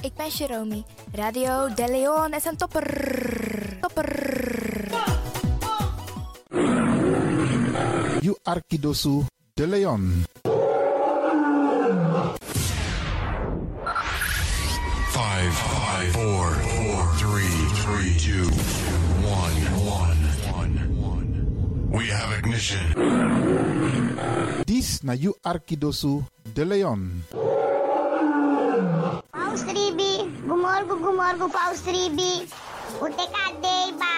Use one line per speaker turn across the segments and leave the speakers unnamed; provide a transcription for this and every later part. ik ben Jerome. Radio De Leon is een topper. Topper.
You Arkidosu de Leon.
Five, five, four, four, three, three, two, one, one, one. We have ignition.
This na You Arkidosu de Leon.
Paus Ribi, gumorgo, gumorgo, Paus Ribi, o Decadeiba.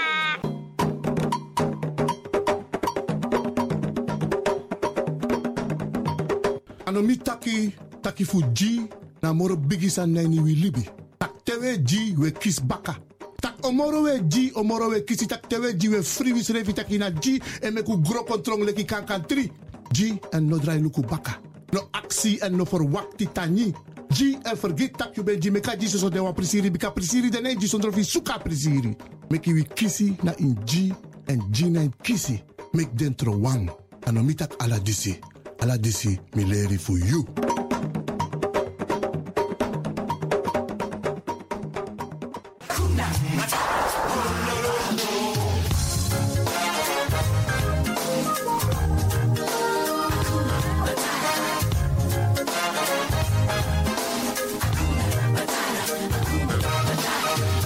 Anomi taki, taki fuji, na moro bigisa neni wi libi. Tak tewe ji we kis baka. Tak omoro we ji, omoro we kisi, tak tewe ji we free wis revi taki na ji, en meku gro kontrong leki kan kan tri. Ji en no drai luku baka. No aksi en no forwakti tani. Ji en forget tak you ben ji meka ji so de wan prisiri, bika prisiri den en ji sondro fi suka prisiri. Meki wi kisi na in ji, en ji na in kisi. Mek dentro wang. Anomi tak ala disi. Ala disi mi leri for you.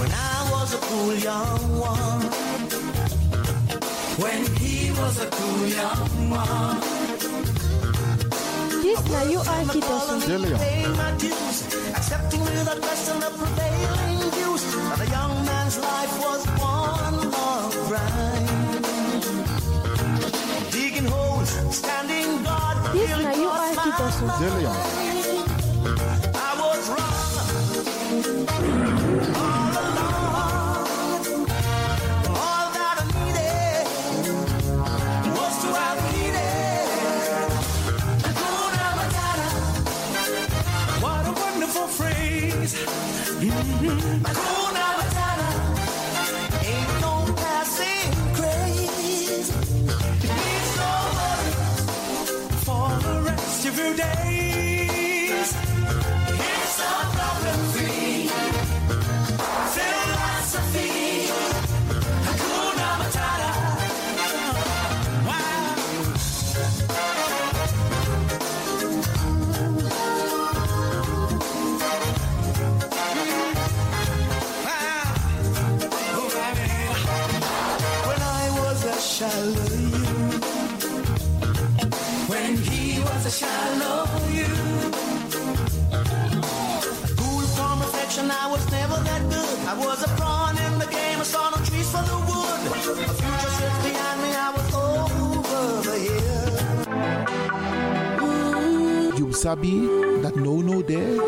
When I was a cool young one. When he was a cool young one.
This na
nou
you are Kidosu.
De Leon.
Paying my dues, accepting without question the prevailing views. But a young man's life was one long grind. Digging holes, standing guard,
This
feeling
na you
cross
are
my
Kidosu.
De Leon.
I was wrong all along. All that I needed was to have needed. Hakuna Matata. What a wonderful phrase. Mhm. Hakuna Matata. Ain't no passing craze. It's no worry for the rest of your days. It's a problem-free philosophy. Hakuna Matata. Wow. Wow. Oh, baby. When I was a Shallow you. When he was a shallow you. Cool from affection, I was never that good. I was a pawn in the game, I saw no trees for the wood. A future sits behind me, I was over the hill.
You sabi that no no there.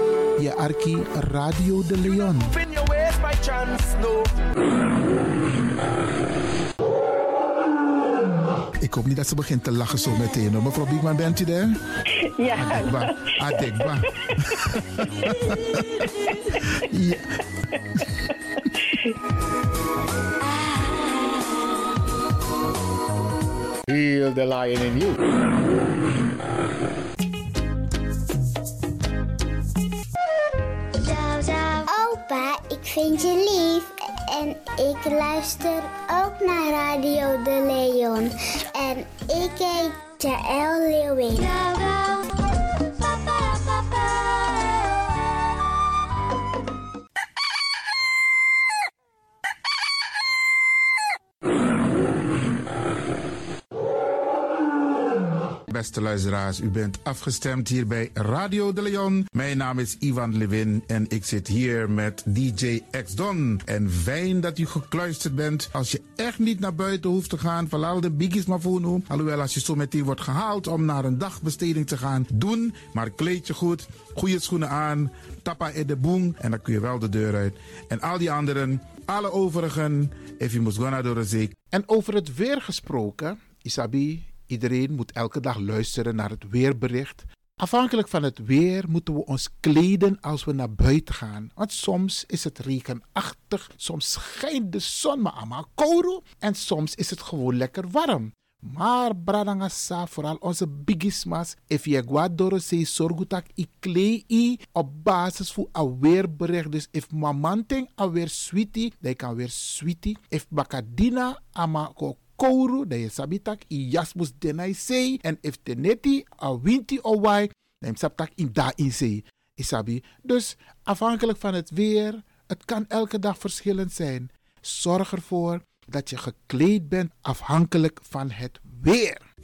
Je Arki Radio de Leon.
In your ways by chance, no.
Ik hoop niet dat ze begint te lachen zo meteen. hoor. Mevrouw Biekman, bent u daar?
Ja,
Adekba. Adekba. ja.
Heel the lion in you.
Opa, ik vind je lief. En ik luister ook naar Radio De Leon. En ik heet Jaël Leeuwin.
Beste luisteraars, u bent afgestemd hier bij Radio de Leon. Mijn naam is Ivan Levin en ik zit hier met DJ X Don. En fijn dat u gekluisterd bent. Als je echt niet naar buiten hoeft te gaan, verlaal de biggies maar voor nu. Alhoewel, als je zo meteen wordt gehaald om naar een dagbesteding te gaan, doen. Maar kleed je goed, goede schoenen aan, tappa in de boem en dan kun je wel de deur uit. En al die anderen, alle overigen, if you must go naar door de zee. En over het weer gesproken, Isabi, Iedereen moet elke dag luisteren naar het weerbericht. Afhankelijk van het weer moeten we ons kleden als we naar buiten gaan. Want soms is het regenachtig, soms schijnt de zon maar allemaal kouro en soms is het gewoon lekker warm.
Maar bradangasa, vooral onze bigismas, if je guadoro se sorgutak i klei i op basis voor aweerbericht. Dus if mamanting aweer sweetie, dan kan weer sweetie. If bakadina ama ko kouru, dan je sabitak i jasmus denai sei. En if teneti a winti o wai, dan je sabitak in da in sei. Isabi. Dus afhankelijk van het weer, het kan elke dag verschillend zijn. Zorg ervoor dat je gekleed bent afhankelijk van het weer.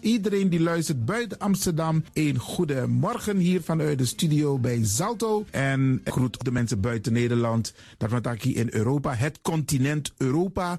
Iedereen die luistert buiten Amsterdam, een goede morgen hier vanuit de studio bij Zalto. En ik groet de mensen buiten Nederland, dat we het hier in Europa, het continent Europa.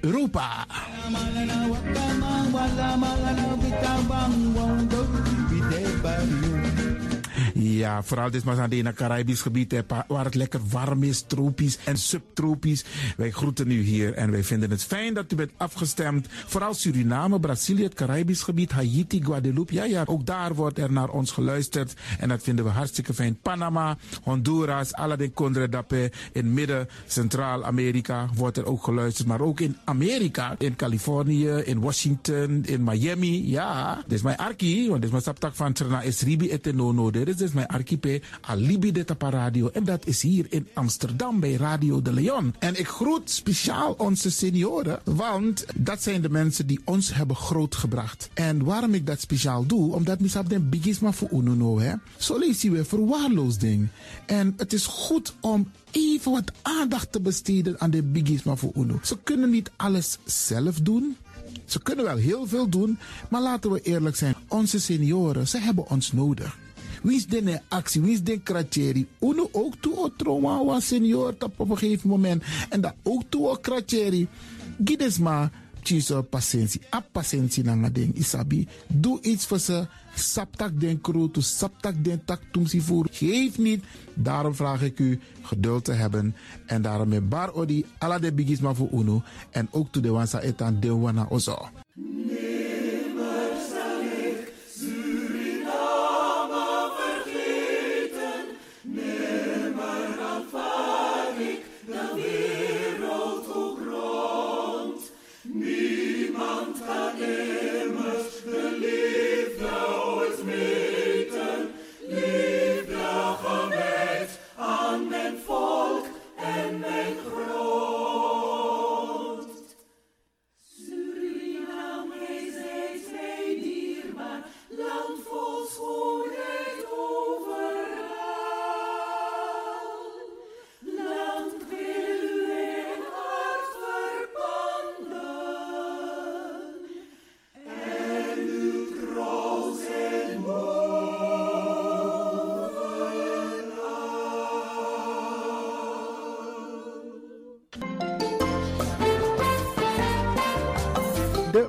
Europa. Ja, vooral dit maar aan het Caribisch gebied, hè, pa- waar het lekker warm is, tropisch en subtropisch. Wij groeten u hier en wij vinden het fijn dat u bent afgestemd. Vooral Suriname, Brazilië, het Caribisch gebied, Haiti, Guadeloupe. Ja, ja, ook daar wordt er naar ons geluisterd en dat vinden we hartstikke fijn. Panama, Honduras, Aladdin Condre Dape, in midden, Centraal-Amerika wordt er ook geluisterd. Maar ook in Amerika, in Californië, in Washington, in Miami. Ja, dit is mijn arki, want dit is mijn saptak van Trena Esribi et Nono. Dit is dus mijn archipel Alibi de Tapa Radio. En dat is hier in Amsterdam bij Radio de Leon. En ik groet speciaal onze senioren, want dat zijn de mensen die ons hebben grootgebracht. En waarom ik dat speciaal doe, omdat misap den bigisma voor uno nou, hè. Zo lees je weer verwaarloosding. En het is goed om even wat aandacht te besteden aan de bigisma voor uno. Ze kunnen niet alles zelf doen. Ze kunnen wel heel veel doen, maar laten we eerlijk zijn. Onze senioren, ze hebben ons nodig. Wie is de actie, wie is de kratjeri? Uno ook toe o trauma wa senior tap op een gegeven moment. En dat ook toe oh, o kratjeri. Gides maar, tjiso patiëntie. A patiëntie na nga ding, isabi. Doe iets voor ze. Saptak den kroto, saptak den tak tumsi voer. Geef niet. Daarom vraag ik u geduld te hebben. En daarom met bar odi, ala de bigisma voor uno. En ook toe de wansa etan de wana ozo. De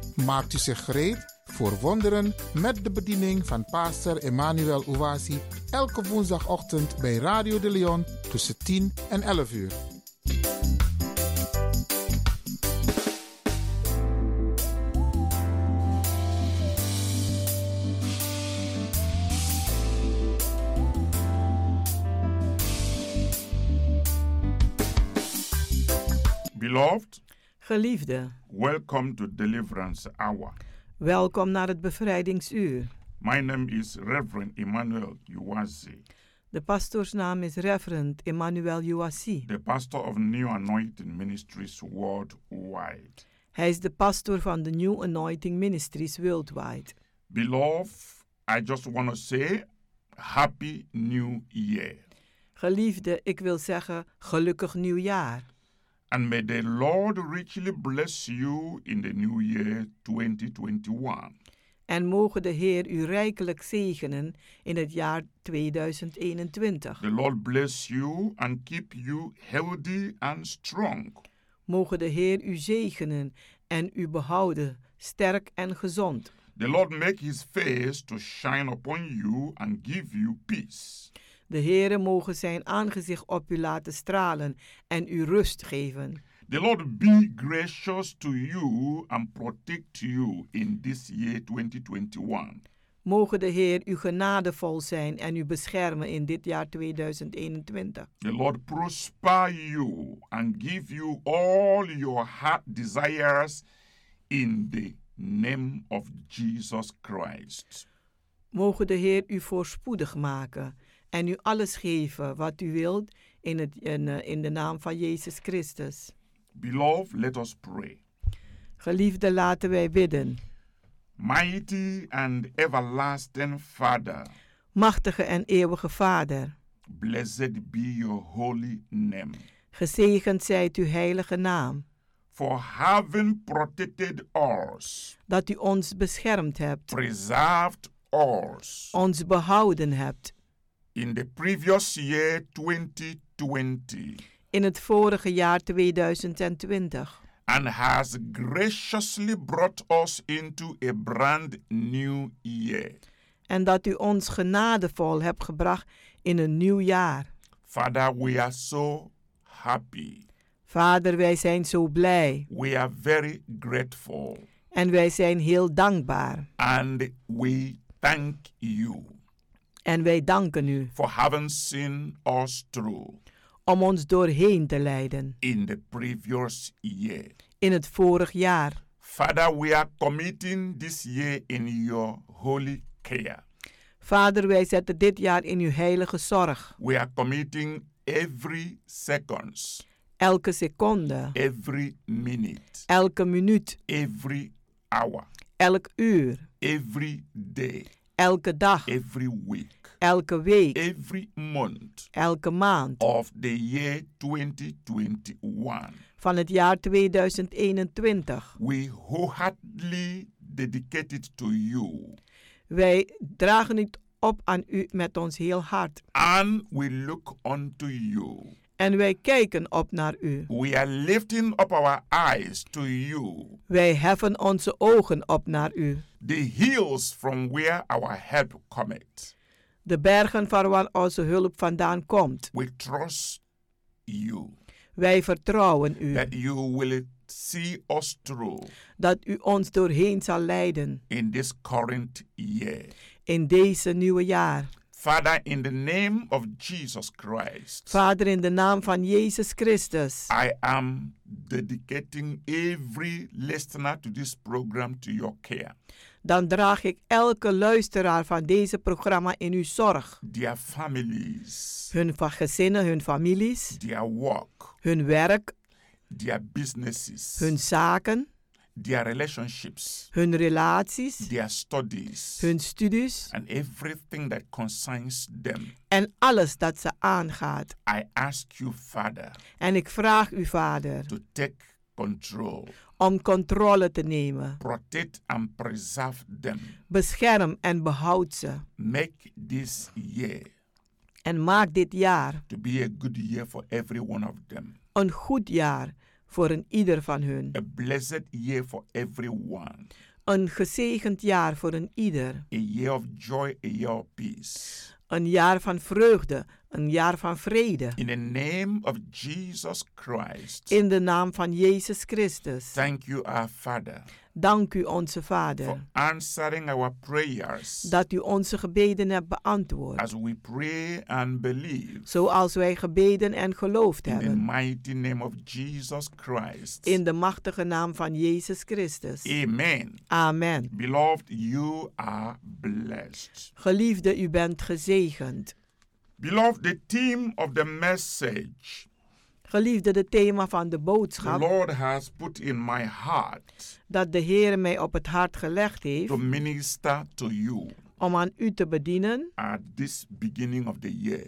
Maakt u zich gereed voor wonderen met de bediening van pastor Emmanuel Owasi elke woensdagochtend bij Radio de Leon tussen 10 en 11 uur.
Beloved,
Geliefde,
welcome to Deliverance Hour.
welkom naar het bevrijdingsuur.
My name is Reverend Emmanuel Uwazi,
De pastoorsnaam is Reverend Emmanuel Uwasi.
the pastor of New Anointing Ministries worldwide.
Hij is de pastoor van de New Anointing Ministries Worldwide.
Beloved, I just want to say Happy New Year
Geliefde, ik wil zeggen gelukkig nieuwjaar.
and may the Lord richly bless you in the new year 2021.
En mogen de Heer u rijkelijk zegenen in het jaar 2021.
The Lord bless you and keep you healthy and strong.
Mogen de Heer u zegenen en u behouden, sterk en gezond.
The Lord make his face to shine upon you and give you peace.
De Heere mogen zijn aangezicht op u laten stralen en u rust geven.
The Lord be gracious to you and protect you in this year 2021.
Mogen de Heer u genadevol zijn en u beschermen in dit jaar 2021.
The Lord prosper you and give you all your heart desires in the name of Jesus Christ.
Mogen de Heer u voorspoedig maken en u alles geven wat u wilt in, het, in, eh, in de naam van Jezus Christus.
Beloved, let us pray.
Geliefde, laten wij bidden.
Mighty and everlasting Father,
Machtige en eeuwige Vader,
blessed be your holy name.
gezegend zijt uw heilige naam,
for having protected us,
dat u ons beschermd hebt,
preserved us
ons behouden hebt
in the previous year 2020,
in het vorige jaar 2020
and has graciously brought us into a brand new year.
en dat u ons genadevol hebt gebracht in een nieuw jaar.
Father, we are so happy.
Vader, wij zijn zo blij
We are very grateful
en wij zijn heel dankbaar.
and we thank you
En wij danken u
for having seen us through
om ons doorheen te leiden
in the previous year.
in het vorig jaar.
Father, we are committing this year in your holy care.
Vader, wij zetten dit jaar in uw heilige zorg.
We are committing every seconds,
Elke seconde,
every minute,
elke minuut,
every hour,
elk uur,
every day,
elke dag,
every week,
elke week,
every month
elke maand
of the year 2021.
van het jaar 2021.
We wholeheartedly dedicate it to you
Wij dragen het op aan u met ons heel hart.
and we look unto you.
En wij kijken op naar u.
We are lifting up our eyes to you.
Wij heffen onze ogen op naar u.
the hills from where our help cometh.
De bergen van waar onze hulp vandaan komt.
We trust you
Wij vertrouwen u.
that you will see us through
dat u ons doorheen zal leiden
in this current year.
in deze nieuwe jaar.
Father, in the name of Jesus Christ,
Vader, in de naam van Jezus Christus,
I am dedicating every listener to this program to your care,
dan draag ik elke luisteraar van deze programma in uw zorg.
their families,
Hun va- gezinnen, hun families,
their work,
hun werk,
their businesses,
hun zaken,
their relationships,
hun relaties,
their studies,
hun studies
and everything that concerns them.
en alles dat ze aangaat.
I ask you, Father,
En ik vraag u, Vader,
to take control.
om controle te nemen.
Protect and preserve them.
Bescherm en behoud ze.
Make this year
En maak dit jaar
to be a good year for every one of them.
een goed jaar voor een ieder van hun.
A blessed year for everyone.
Een gezegend jaar voor een ieder.
A year of joy, a year of peace.
Een jaar van vreugde, een jaar van vrede.
In the name of Jesus Christ.
In de naam van Jezus Christus.
Thank you, our Father,
Dank u, onze
for
Vader,
answering our prayers
dat u onze gebeden hebt beantwoord.
as we pray and believe.
Zoals wij gebeden en geloofd
In the
hebben.
mighty name of Jesus Christ.
In de machtige naam van Jezus Christus.
Amen.
Amen.
Beloved, you are blessed.
Geliefde, u bent gezegend.
Beloved, the theme of the message
Geliefde, het thema van de
the
boodschap
Lord has put in my heart
dat de Heer mij op het hart gelegd heeft
to minister to you
om aan u te bedienen
at this beginning of the year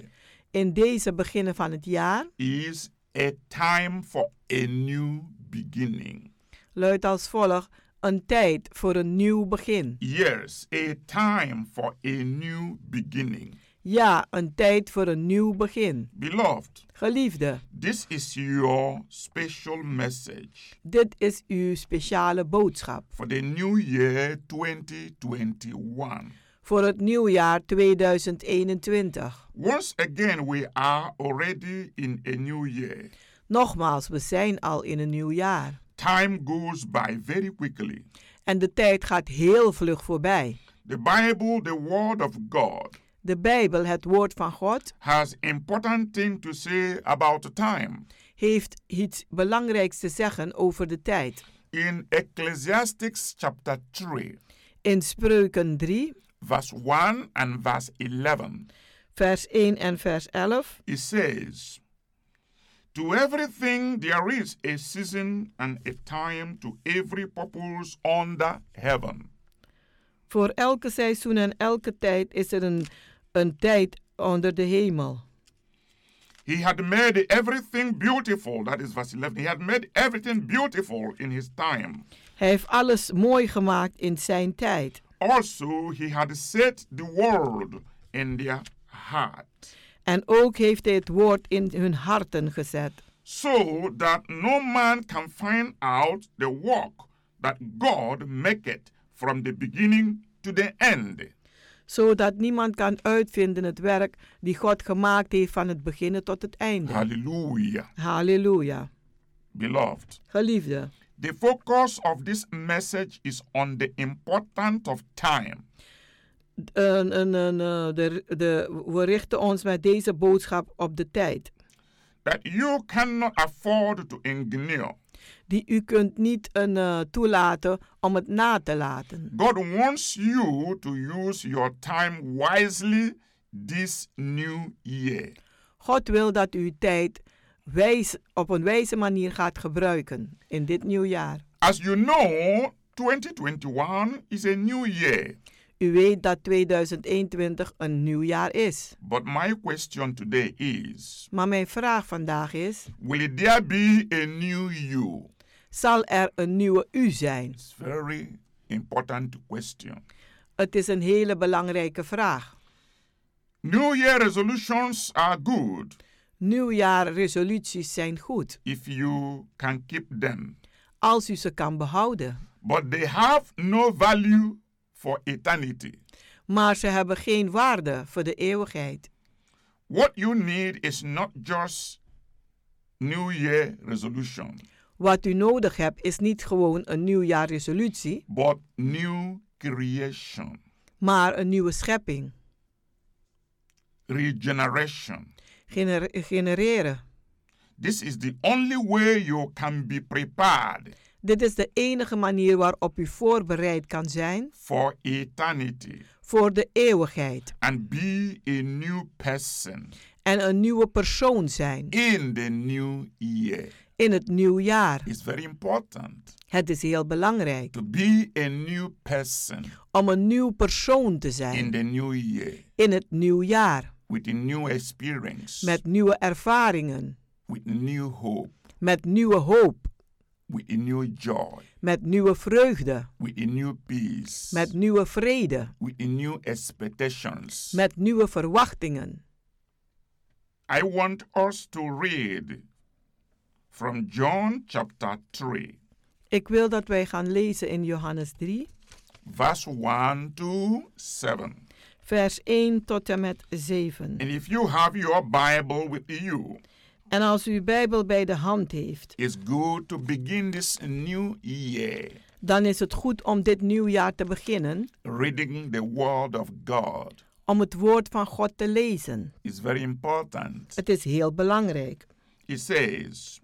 in deze beginnen van het jaar
is a time for a new beginning.
luidt als volgt: een tijd voor een nieuw begin.
Yes, a time for a new beginning.
Ja, een tijd voor een nieuw begin.
Beloved,
Geliefde,
this is your special message
dit is uw speciale boodschap
for the new year 2021.
voor het nieuwjaar 2021.
Once again, we are already in a new year.
Nogmaals, we zijn al in een nieuw jaar.
Time goes by very quickly.
En de tijd gaat heel vlug voorbij.
The Bible, the Word of God,
De Bijbel, het woord van God,
has important thing to say about time.
heeft iets belangrijks te zeggen over de tijd.
In Ecclesiastics chapter 3,
In Spreuken 3,
verse 1 and verse 11,
vers 1 en vers 11
it says, To everything there is a season and a time to every purpose under heaven.
Voor elke seizoen en elke tijd is er een, een tijd onder de hemel.
He had made everything beautiful. That is verse 11. He had made everything beautiful in his time.
Hij heeft alles mooi gemaakt in zijn tijd.
Also, he had set the world in their heart,
En ook heeft hij het woord in hun harten gezet.
so that no man can find out the work that God maketh from the beginning to the end.
Zodat niemand kan uitvinden het werk die God gemaakt heeft van het beginnen tot het einde.
Hallelujah.
Halleluja.
Beloved,
Geliefde,
the focus of this message is on the importance of time.
een, een, een, eh, de, de, we richten ons met deze boodschap op de tijd.
That you cannot afford to ignore.
Die u kunt niet een, eh, toelaten om het na te laten.
God wants you to use your time wisely this new year.
God wil dat u uw tijd wijs, op een wijze manier gaat gebruiken in dit nieuwjaar.
As you know, 2021 is a new year.
U weet dat 2021 een nieuw jaar is.
But my question today is
Maar mijn vraag vandaag is:
Will there be a new you?
zal er een nieuwe u zijn?
It's very important question.
Het is een hele belangrijke vraag.
New year resolutions are good
Nieuwjaarresoluties zijn goed
if you can keep them,
als u ze kan behouden,
but they have no value for eternity.
maar ze hebben geen waarde voor de eeuwigheid.
What you need is not just New Year resolution,
Wat u nodig hebt is niet gewoon een nieuwjaarresolutie,
but new creation,
maar een nieuwe schepping.
regeneration.
Gener- genereren.
This is the only way you can be prepared
Dit is de enige manier waarop u voorbereid kan zijn
for eternity
voor de eeuwigheid
and be a new person
en een nieuwe persoon zijn
in the new year.
in het nieuw jaar.
It's very important
Het is heel belangrijk
to be a new person
om een nieuw persoon te
in
zijn
the new year
in het nieuw jaar
with a new experience,
met nieuwe ervaringen,
with new hope,
met nieuwe hoop
with a new joy,
met nieuwe vreugde,
with a new peace,
met nieuwe vrede,
with a new expectations.
met nieuwe verwachtingen.
I want us to read from John chapter 3,
Ik wil dat wij gaan lezen in Johannes 3,
verse 1 to 7.
vers 1 tot en met 7.
And if you have your Bible with you,
En als u uw Bijbel bij de hand heeft,
it's good to begin this new year
dan is het goed om dit nieuwjaar te beginnen
reading the Word of God.
om het woord van God te lezen.
It's very important.
Het is heel belangrijk.
It says,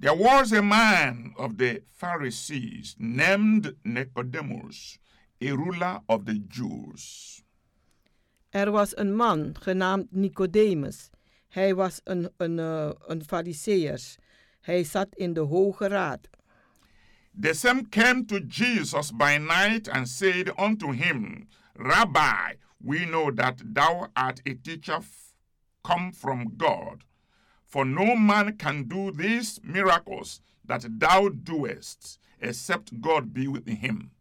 There was a man of the Pharisees named Nicodemus, a ruler of the Jews.
Er was een man genaamd Nicodemus. Hij was een, een, eh, een fariseer. Hij zat in de Hoge Raad.
The same came to Jesus by night and said unto him, Rabbi, we know that thou art a teacher f- come from God, for no man can do these miracles that thou doest, except God be with him.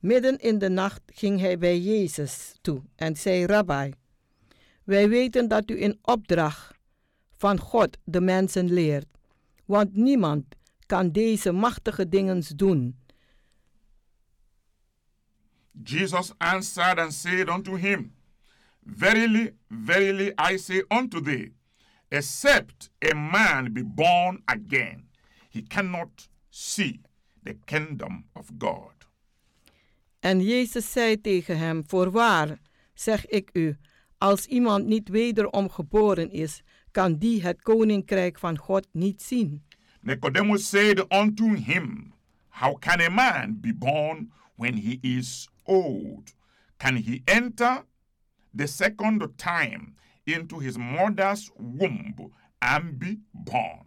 Midden in de nacht ging hij bij Jezus toe en zei: Rabbi, wij weten dat u in opdracht van God de mensen leert, want niemand kan deze machtige dingen doen.
Jesus answered and said unto him, Verily, verily, I say unto thee, except a man be born again, he cannot see the kingdom of God.
En Jezus zei tegen hem: Voorwaar, zeg ik u, als iemand niet wederom geboren is, kan die het koninkrijk van God niet zien.
Nicodemus said unto him, How can a man be born when he is old? Can he enter the second time into his mother's womb and be born?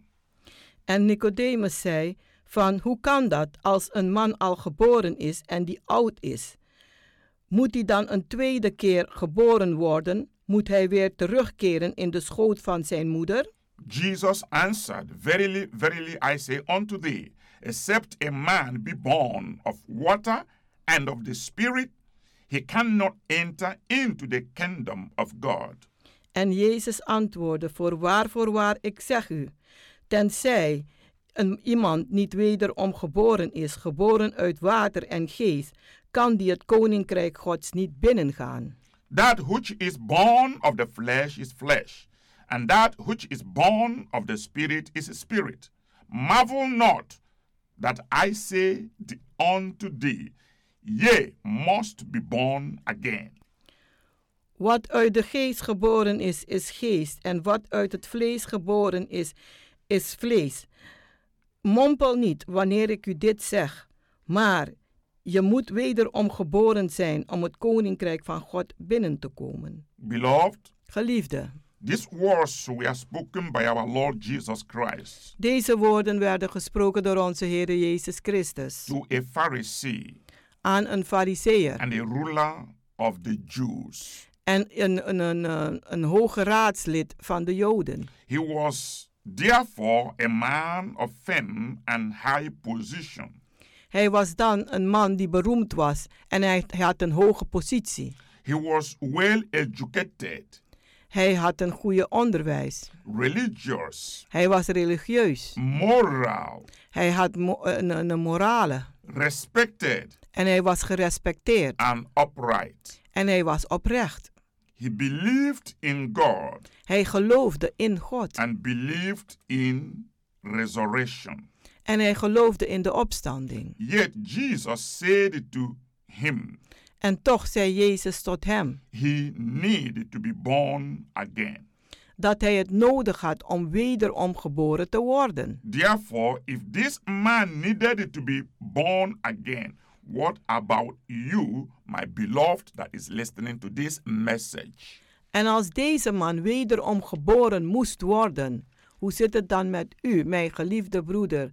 En Nicodemus zei: Van hoe kan dat als een man al geboren is en die oud is? Moet hij dan een tweede keer geboren worden? Moet hij weer terugkeren in de schoot van zijn moeder?
Jesus answered, Verily, verily, I say unto thee, except a man be born of water and of the Spirit, he cannot enter into the kingdom of God.
En Jezus antwoordde: Voorwaar, voorwaar, ik zeg u, tenzij een, iemand niet wederom geboren is, geboren uit water en geest, kan die het koninkrijk Gods niet binnengaan.
That which is born of the flesh is flesh, and that which is born of the Spirit is spirit. Marvel not that I say th- unto thee, Ye must be born again.
Wat uit de geest geboren is, is geest, en wat uit het vlees geboren is, is vlees. Mompel niet wanneer ik u dit zeg, maar je moet wederom geboren zijn om het koninkrijk van God binnen te komen.
Beloved,
Geliefde,
These words were spoken by our Lord Jesus Christ
deze woorden werden gesproken door onze Heer Jezus Christus
to a Pharisee
aan een fariseer
and a ruler of the Jews.
en een, een, een, een, een hoge raadslid van de Joden.
He was therefore a man of fame and high position.
Hij was dan een man die beroemd was en hij hij had een hoge positie.
He was well educated,
Hij had een goede onderwijs.
religious,
Hij was religieus.
moral,
Hij had mo- eh, een, een een morale.
respected,
En hij was gerespecteerd.
and upright.
En hij was oprecht.
He believed in God
Hij geloofde in God.
and believed in resurrection.
En hij geloofde in de opstanding.
Yet Jesus said to him,
En toch zei Jezus tot hem
he need to be born again.
dat hij het nodig had om wederom geboren te worden.
Therefore, if this man needed to be born again, what about you, my beloved, that is listening to this message?
En als deze man wederom geboren moest worden, hoe zit het dan met u, mijn geliefde broeder,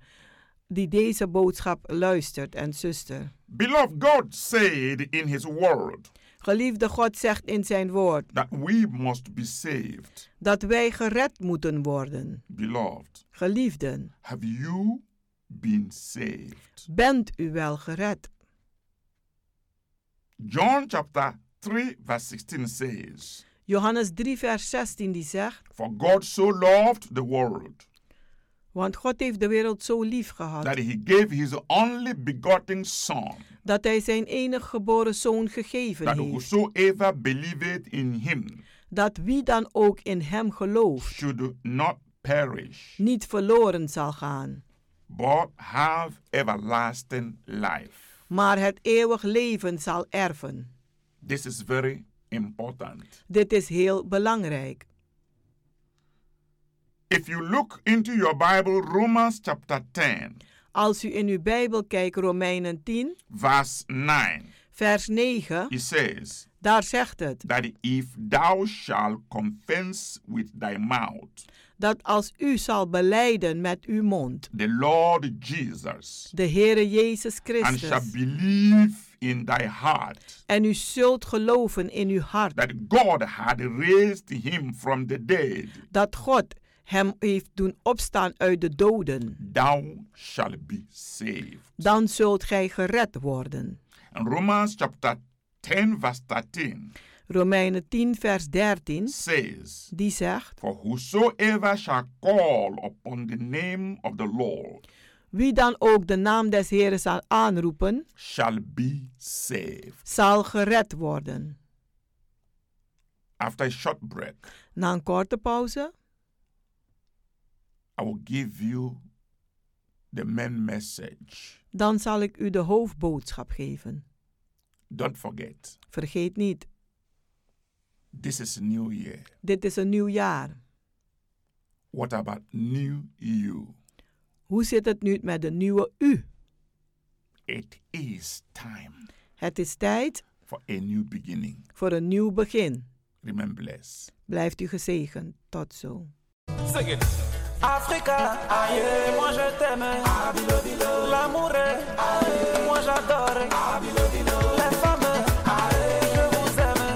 die deze boodschap luistert en zuster?
Beloved, God said in His Word
Geliefde God zegt in zijn woord
that we must be saved.
dat wij gered moeten worden.
Beloved,
Geliefden,
have you been saved?
Bent u wel gered?
John chapter 3 verse 16 says,
Johannes 3 vers 16 die zegt,
For God so loved the world
want God heeft de wereld zo lief gehad
that he gave his only begotten son
dat hij zijn enig geboren zoon gegeven
that
heeft,
whosoever believeth in him
dat wie dan ook in hem gelooft
should not perish
niet verloren zal gaan,
but have everlasting life.
maar het eeuwig leven zal erven.
This is very important.
Dit is heel belangrijk.
If you look into your Bible, Romans chapter 10,
Als u in uw Bijbel kijkt, Romeinen 10,
verse 9,
vers 9,
it says,
daar zegt het
That if thou shalt confess with thy mouth
dat als u zal beleiden met uw mond
the Lord Jesus
de Heere Jezus
and shall
Christus
believe in thy heart
en u zult geloven in uw hart
that God had raised him from the dead,
dat God hem heeft doen opstaan uit de doden,
thou shalt be saved.
dan zult gij gered worden.
And Romans chapter 10, verse 13
Romeinen 10, vers 13,
says,
die zegt,
For whosoever shall call upon the name of the Lord
wie dan ook de naam des Heeren zal aanroepen,
shall be saved.
zal gered worden.
After a short break,
Na een korte pauze
I will give you the main message.
Dan zal ik u de hoofdboodschap geven.
Don't forget,
Vergeet niet,
this is New Year.
dit is een nieuw jaar.
What about New You?
Hoe zit het nu met de nieuwe u?
It is time
Het is tijd
for a new beginning.
voor een nieuw begin.
Remember blessed.
Blijft u gezegend. Tot zo.
Sing it. Africa, aïe, moi je t'aime. L'amour est, aïe, moi j'adore. Les femmes, aïe, je vous aime.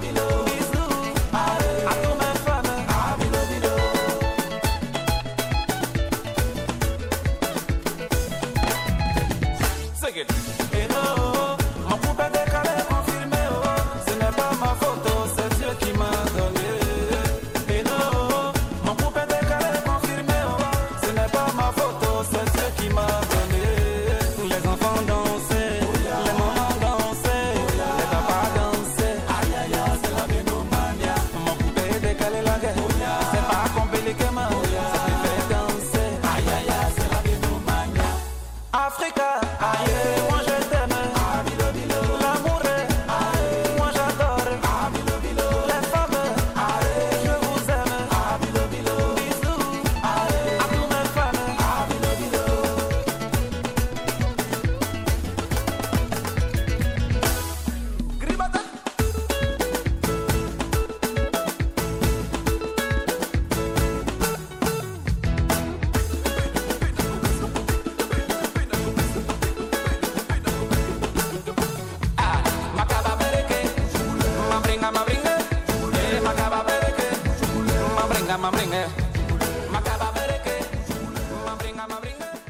Bisous, aïe, à tous mes femmes. Sing it. Et non, mon coupé décalé confirmé, oh, ce n'est pas ma photo, c'est Dieu qui m'a donné. Et non, mon coupé décalé confirmé, oh, ce n'est pas ma photo, c'est Dieu qui m'a donné. Les enfants dansaient, les mamans dansaient, les papas dansaient. Aïe aïe aïe, c'est la binomania. Mon coupé décalé la guerre, c'est pas compliqué, ma. Ça me fait danser. Aïe aïe aïe, c'est la binomania. Africa, aïe, moi je t'aime. L'amour est, aïe, moi j'adore. Les femmes, aïe, je vous aime. Bisous, aïe, à tous mes femmes. Gribata. Macaba bereke, mabringa mabringa, eh, macaba bereke, mabringa mabringa, macaba bereke, mabringa mabringa.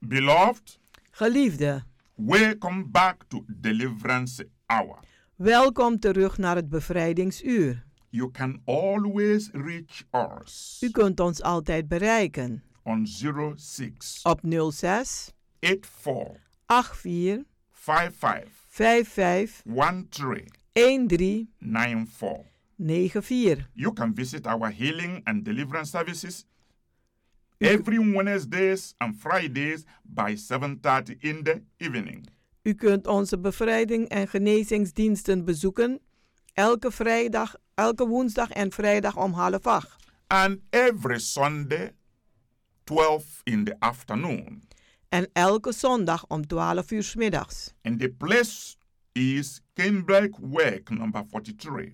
Beloved,
Geliefde,
welcome back to Deliverance Hour.
welkom terug naar het bevrijdingsuur.
You can always reach us
U kunt ons altijd bereiken
on 06
op 06
84
84
55
55 13
1394.
94.
You can visit our healing and deliverance services every Wednesdays and Fridays by 7:30 in the evening.
U kunt onze bevrijding en genezingsdiensten bezoeken elke vrijdag, elke woensdag en vrijdag om half acht.
And every Sunday 12 in the afternoon.
En elke zondag om 12 uur 's middags.
And the place is Kenbreak Work number 43.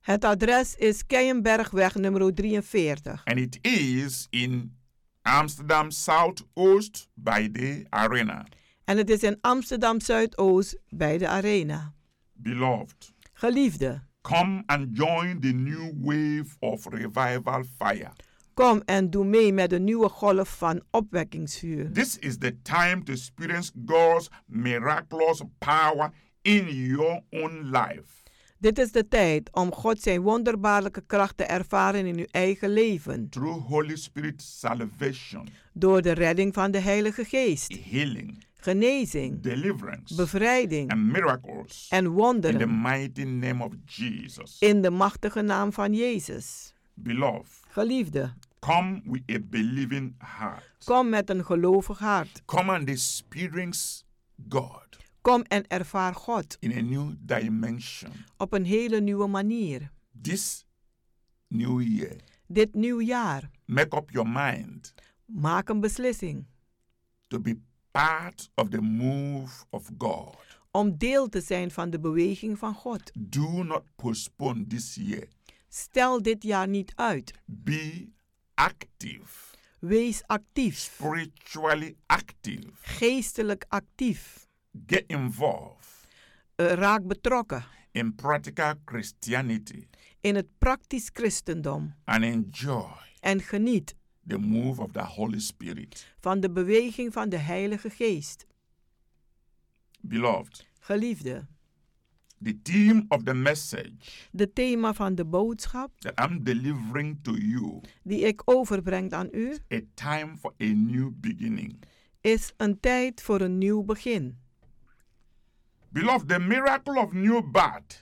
Het adres is Keienbergweg nummer 43.
And it is in Amsterdam South Oost by the arena.
En het is in Amsterdam Zuidoost bij de Arena.
Beloved,
Geliefde,
come and join the new wave of revival fire.
Kom en doe mee met de nieuwe golf van opwekkingsvuur.
This is the time to experience God's miraculous power in your own life.
Dit is de tijd om God zijn wonderbaarlijke kracht te ervaren in uw eigen leven.
Through Holy Spirit salvation,
Door de redding van de Heilige Geest,
healing,
genezing,
deliverance,
bevrijding
and miracles
en
in the
wonderen.
mighty name of Jesus.
In de machtige naam van Jezus.
Beloved,
Geliefde,
come with a believing heart.
kom met een gelovig hart.
Come and experience God
Kom en ervaar God
in a new dimension.
op een hele nieuwe manier.
This new year,
Dit nieuw jaar,
make up your mind
maak een beslissing
to be part of the move of God.
om deel te zijn van de beweging van God.
Do not postpone this year.
Stel dit jaar niet uit.
Be active,
Wees actief,
spiritually active.
geestelijk actief.
Get involved
Eh, raak betrokken
in practical Christianity
in het praktisch christendom
and enjoy
en geniet
the move of the Holy Spirit.
van de beweging van de Heilige Geest.
Beloved,
Geliefde,
the theme of the message
de thema van de boodschap
that I'm delivering to you
die ik overbreng aan u
a time for a new beginning.
is een tijd voor een nieuw begin.
Beloved, the miracle of new birth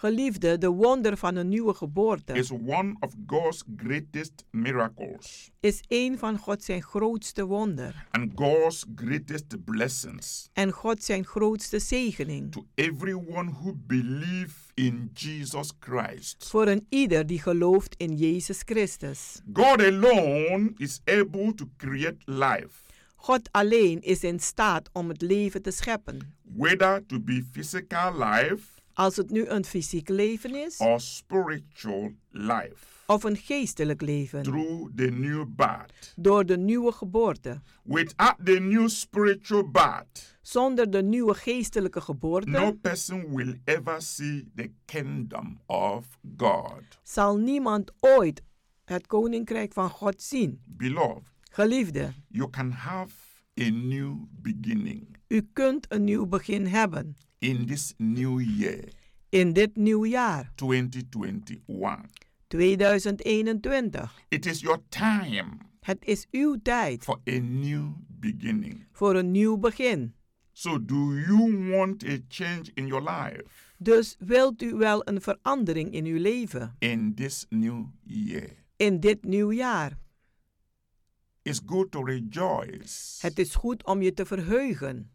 Geliefde, de wonder van een nieuwe geboorte
is one of God's greatest miracles
is een van God zijn grootste wonder
and God's greatest blessings
en God zijn grootste zegening
to everyone who believe in Jesus Christ.
voor een ieder die gelooft in Jezus Christus.
God alone is able to create life,
God alleen is in staat om het leven te scheppen.
whether to be physical life
Als het nu een fysiek leven is
or spiritual life,
of een geestelijk leven.
through the new birth.
Door de nieuwe geboorte.
Without the new spiritual birth,
Zonder de nieuwe geestelijke geboorte
no person will ever see the kingdom of God.
zal niemand ooit het koninkrijk van God zien.
Beloved,
Geliefde,
you can have a new beginning
u kunt een nieuw begin hebben
in this new year,
in dit nieuw jaar
2021.
2021.
It is your time
Het is uw tijd
for a new beginning.
voor een nieuw begin.
So, do you want a change in your life
Dus wilt u wel een verandering in uw leven
in this new year?
in dit nieuw jaar?
It's good to rejoice
Het is goed om je te verheugen,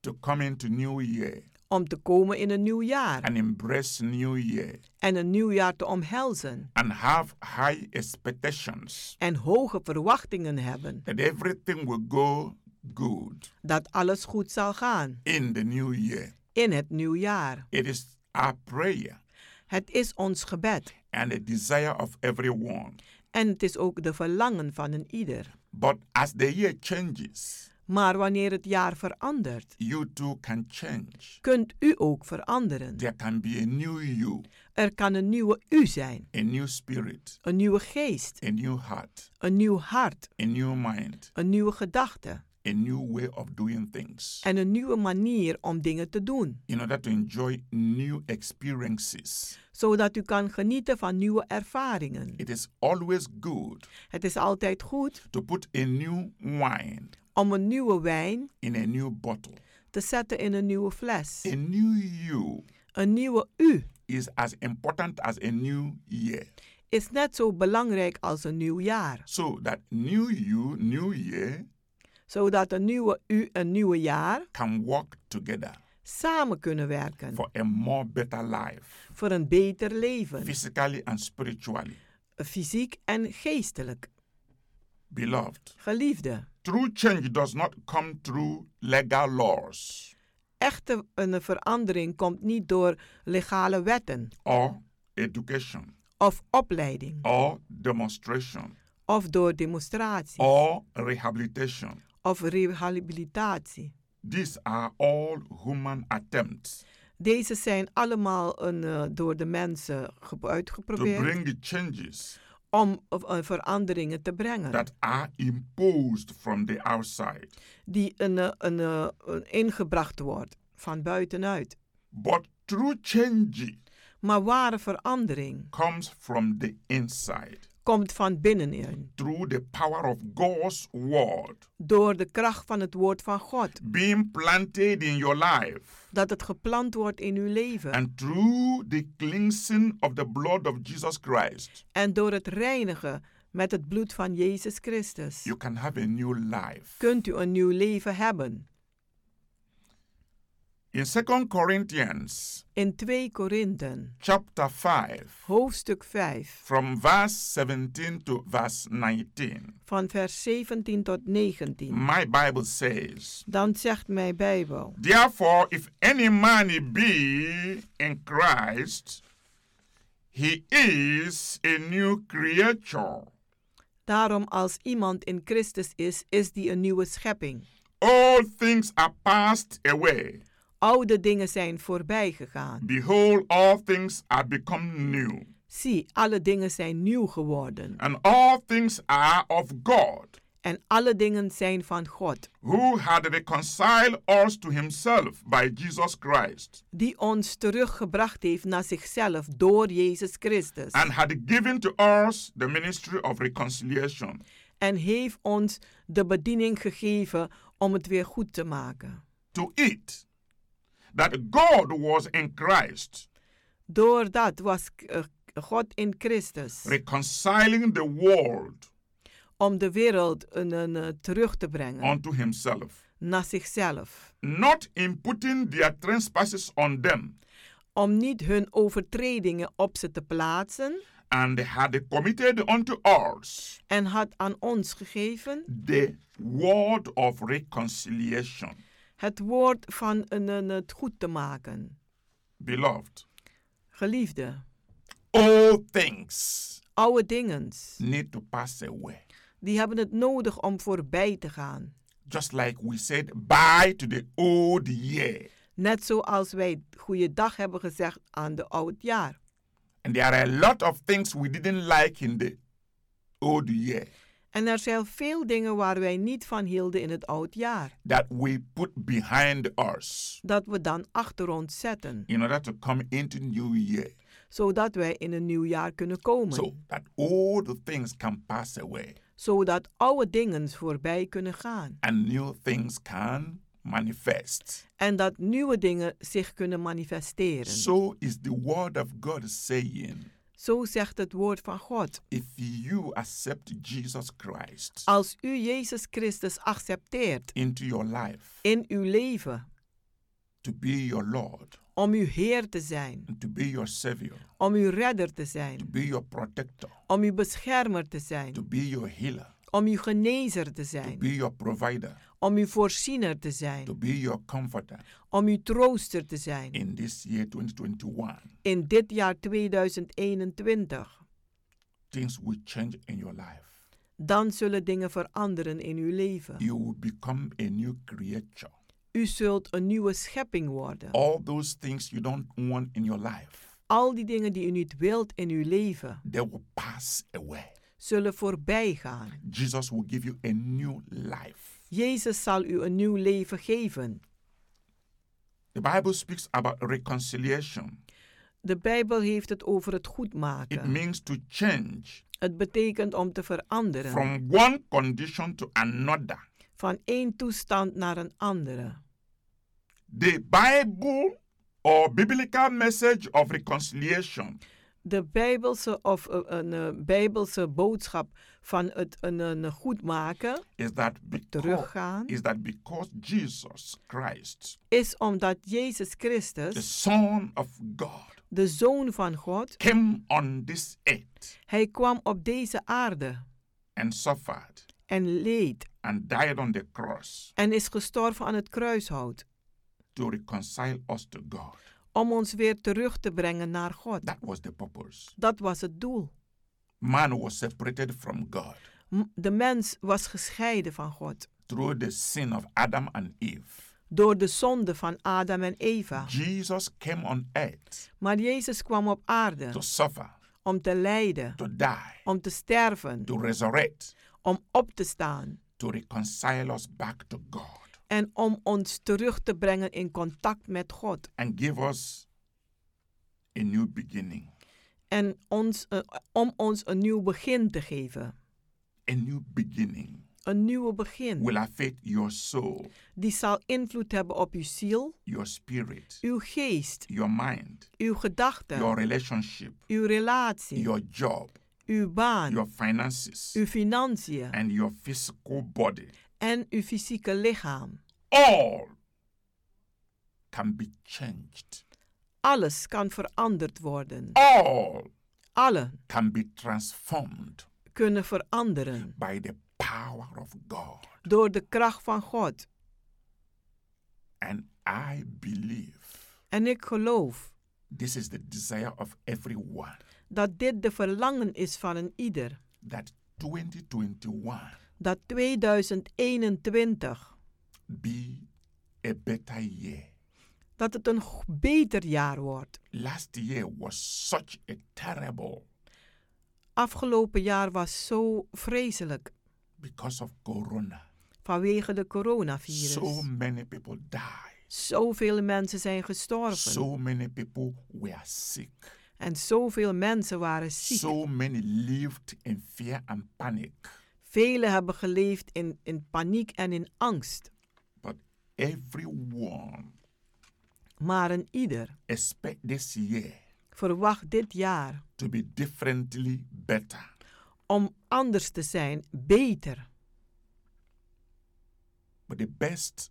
to come into new year
om te komen in een nieuw jaar
and embrace new year
en een nieuw jaar te omhelzen
and have high expectations
en hoge verwachtingen hebben
that everything will go good
dat alles goed zal gaan
in the new year.
in het nieuw jaar.
It is our prayer
Het is ons gebed
and the desire of everyone.
en het is ook de verlangen van een ieder.
But as the year changes,
Maar wanneer het jaar verandert,
you too can change.
kunt u ook veranderen.
There can be a new you,
Er kan een nieuwe u zijn,
a new spirit,
een nieuwe geest,
a new heart,
een nieuw hart,
a new mind,
een nieuwe gedachte
a new way of doing things
en een nieuwe manier om dingen te doen,
in order to enjoy new experiences.
zodat u kan genieten van nieuwe ervaringen.
It is always good
Het is altijd goed
to put a new wine
om een nieuwe wijn
in a new bottle.
te zetten in een nieuwe fles.
A new you
Een nieuwe u
is as important as a new year.
is net zo belangrijk als een nieuw jaar,
So that new you, new year
zodat een nieuwe u en nieuwe jaar
can work together
samen kunnen werken
for a more better life,
voor een beter leven,
physically and spiritually.
fysiek en geestelijk.
Beloved,
Geliefde,
true change does not come through legal laws
echte een verandering komt niet door legale wetten
or education
of opleiding
or demonstration
of door demonstratie
or rehabilitation.
of rehabilitatie.
These are all human attempts
Deze zijn allemaal een, eh, door de mensen ge-
to
uitgeprobeerd
bring changes
om eh, veranderingen te brengen.
that are imposed from the outside.
die een, eh, een, eh, een ingebracht wordt van buitenuit.
But true change
maar ware verandering
comes from the inside.
komt van binnenin.
Through the power of God's word
Door de kracht van het woord van God.
being planted in your life
Dat het geplant wordt in uw leven.
and through the cleansing of the blood of Jesus Christ,
en door het reinigen met het bloed van Jezus Christus.
you can have a new life.
Kunt u een nieuw leven hebben.
In 2 Corinthians
In 2 Korinthen,
chapter 5
hoofdstuk 5,
from verse 17 to verse 19,
van vers 17 tot 19.
my Bible says,
Dan zegt mijn Bijbel.
Therefore, if any man be in Christ, he is a new creature.
Daarom als iemand in Christus is, is die een nieuwe schepping.
All things are passed away.
Oude dingen zijn voorbij gegaan.
Behold, all things are become new,
Zie, alle dingen zijn nieuw geworden.
and all things are of God,
En alle dingen zijn van God,
who had reconciled us to himself by Jesus Christ,
die ons teruggebracht heeft naar zichzelf door Jezus Christus.
and had given to us the ministry of reconciliation.
En heeft ons de bediening gegeven om het weer goed te maken.
To it, that God was in Christ.
Doordat was eh, God in Christus
reconciling the world
om de wereld een, een, eh, terug te brengen
unto himself,
naar zichzelf.
not imputing their trespasses on them,
Om niet hun overtredingen op ze te plaatsen
and had committed unto us
en had aan ons gegeven
the word of reconciliation.
het woord van een, een, het goed te maken.
Beloved,
Geliefde,
all things
oude dingens,
need to pass away.
die hebben het nodig om voorbij te gaan.
Just like we said bye to the old year.
Net zoals wij goeiedag hebben gezegd aan de oudjaar.
And there are a lot of things we didn't like in the old year
En er zijn veel dingen waar wij niet van hielden in het oudjaar,
that we put behind us
dat we dan achter ons zetten,
in order to come into new year.
zodat wij in een nieuw jaar kunnen komen,
so that all the things can pass away
zodat oude dingen voorbij kunnen gaan
and new things can manifest.
en dat nieuwe dingen zich kunnen manifesteren.
So is the word of God saying
Zo zegt het woord van God.
if you accept Jesus Christ
Als u Jezus Christus accepteert
into your life
in uw leven
to be your Lord,
om uw Heer te zijn,
to be your Savior,
om uw redder te
to
zijn,
be your protector,
om uw beschermer te
to
zijn,
be your healer,
om uw genezer te
to
zijn,
be your provider,
om uw voorziener te
to
zijn,
be your comforter
om uw trooster te zijn.
in this year 2021.
In dit jaar 2021,
Things will change in your life.
dan zullen dingen veranderen in uw leven.
You will become a new creature.
U zult een nieuwe schepping worden.
all those things you don't want in your life,
Al die dingen die u niet wilt in uw leven,
they will pass away.
zullen voorbij gaan.
Jesus will give you a new life.
Jezus zal u een nieuw leven geven.
The Bible speaks about reconciliation.
De Bijbel heeft het over het goed
It
maken.
means to change
Het betekent om te veranderen
from one condition to another.
van één toestand naar een andere.
The Bible or biblical message of reconciliation
De Bijbelse of eh, een eh, Bijbelse boodschap van het een, een goed maken
is that because,
Teruggaan.
is that because Jesus Christ,
is omdat Jezus
the
Christus,
Son of God,
de Zoon van God,
came on this earth
hij kwam op deze aarde
and suffered
en leed
and died on the cross
en is gestorven aan het kruishout
to reconcile us to God.
om ons weer terug te brengen naar God.
That was the purpose.
Dat was het doel.
Man was separated from God
M- De mens was gescheiden van God
through the sin of Adam and Eve.
door de zonde van Adam en Eva.
Jesus came on earth
Maar Jezus kwam op aarde
to suffer,
om te lijden,
to die,
om te sterven,
to resurrect,
om op te staan
to reconcile us back to God
en om ons terug te brengen in contact met God
and give us a new beginning,
en ons, eh, om ons een nieuw begin te geven.
a new beginning.
Een nieuwe begin
will affect your soul,
die zal invloed hebben op uw ziel,
your spirit,
uw geest,
your mind,
uw
your
gedachten,
relationship,
uw relatie,
your job,
uw
your
baan,
finances,
uw financiën
and your physical body.
en uw fysieke lichaam.
All can be changed,
Alles kan veranderd worden.
all
Alle
can be transformed
kunnen veranderen
by the power of God.
door de kracht van God.
And I believe
En ik geloof
this is the desire of everyone
dat dit de verlangen is van een ieder.
that 2021
Dat 2021,
be a better year.
dat het een g- beter jaar wordt.
Last year was such a terrible
Afgelopen jaar was zo vreselijk
because of corona.
vanwege de coronavirus.
So many people died.
Zoveel mensen zijn gestorven.
So many people were sick.
En zoveel mensen waren ziek.
So many lived in fear and panic.
Velen hebben geleefd in, in paniek en in angst.
But everyone
Maar een ieder
expect this year
verwacht dit jaar
to be differently better.
om anders te zijn, beter.
But the best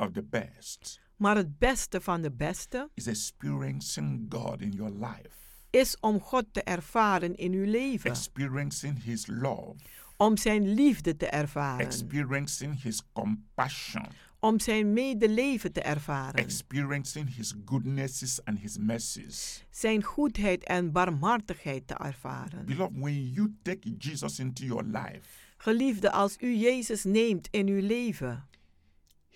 of the best
Maar het beste van de beste
is experiencing God in your life,
is om God te ervaren in uw leven.
experiencing His love,
Om zijn liefde te ervaren.
experiencing His compassion,
Om zijn medeleven te ervaren.
experiencing His goodnesses and His mercies.
Zijn goedheid en barmhartigheid te ervaren.
Beloved, when you take Jesus into your life,
Geliefde, als u Jezus neemt in uw leven,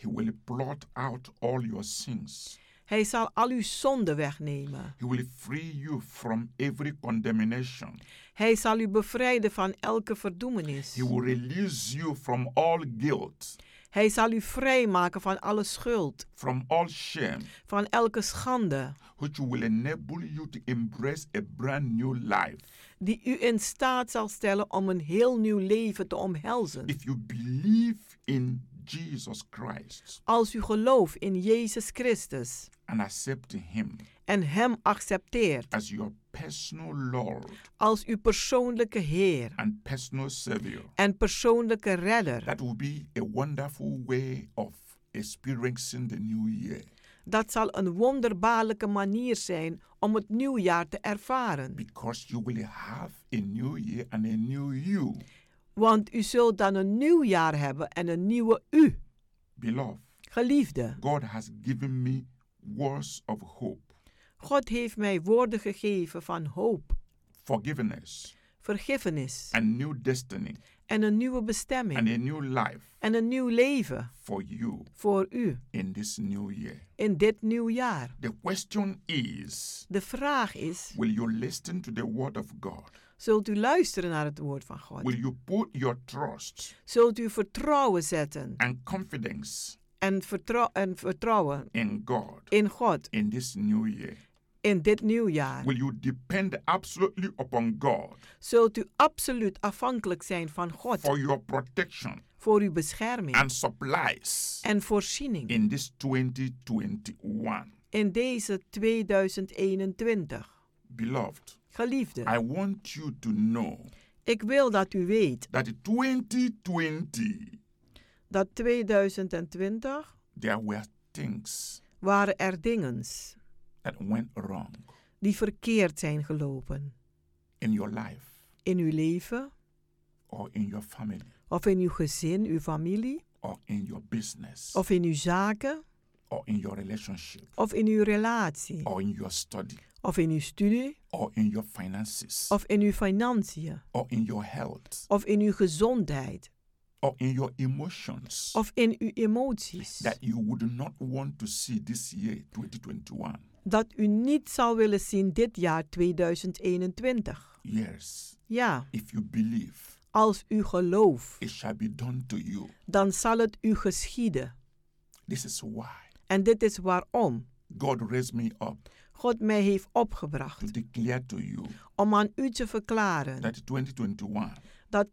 He will blot out all your sins.
Hij zal al uw zonden wegnemen.
He will free you from every condemnation.
Hij zal u bevrijden van elke verdoemenis.
He will release you from all guilt,
Hij zal u vrijmaken van alle schuld,
from all shame,
van elke schande,
which will enable you to embrace a brand new life.
die u in staat zal stellen om een heel nieuw leven te omhelzen.
If you believe in Jesus Christ
Als u gelooft in Jezus Christus
and accept Him
en Hem accepteert
as your personal Lord
als uw persoonlijke Heer
and personal Savior,
en persoonlijke Redder,
that will be a wonderful way of experiencing the new year.
dat zal een wonderbaarlijke manier zijn om het nieuwjaar te ervaren.
Because you will have a new year and a new you.
Want u zult dan een nieuw jaar hebben en een nieuwe u.
Beloved,
Geliefde,
God has given me words of hope,
God heeft mij woorden gegeven van hoop,
forgiveness,
vergiffenis
a new destiny,
en een nieuwe
and
bestemming
a new life
en een nieuw leven
for you
voor u
in this new year.
in dit nieuw jaar.
The question is
De vraag is,
Will you listen to the word of God?
zult u luisteren naar het woord van God?
Will you put your trust
Zult u vertrouwen zetten
and confidence
en, vertrou- en vertrouwen
in God
in God
in this new year?
in dit nieuw jaar?
Will you depend absolutely upon God
Zult u absoluut afhankelijk zijn van God
for your protection
voor uw bescherming
and supplies
en voorziening?
in this 2021?
in deze 2021.
Beloved, I
Geliefde,
want you to know
ik wil dat u weet
that 2020
dat 2020
there were things
waren er dingen
that went wrong
die verkeerd zijn gelopen.
in your life
In uw leven,
or in your family
of in uw gezin, uw familie,
or in your business
of in uw zaken,
or in your relationship
of in uw relatie,
or in your study
of in uw studie,
or in your finances
of in uw financiën,
or in your health
of in uw gezondheid,
or in your emotions
of in uw emoties.
that you would not want to see this year 2021
dat u niet zou willen zien dit jaar 2021.
Yes.
Ja,
If you believe,
als u gelooft,
it shall be done to you.
dan zal het u geschieden.
This is why
En dit is waarom
God raised me up
God mij heeft opgebracht
to declare to you
om aan u te verklaren
that 2021
dat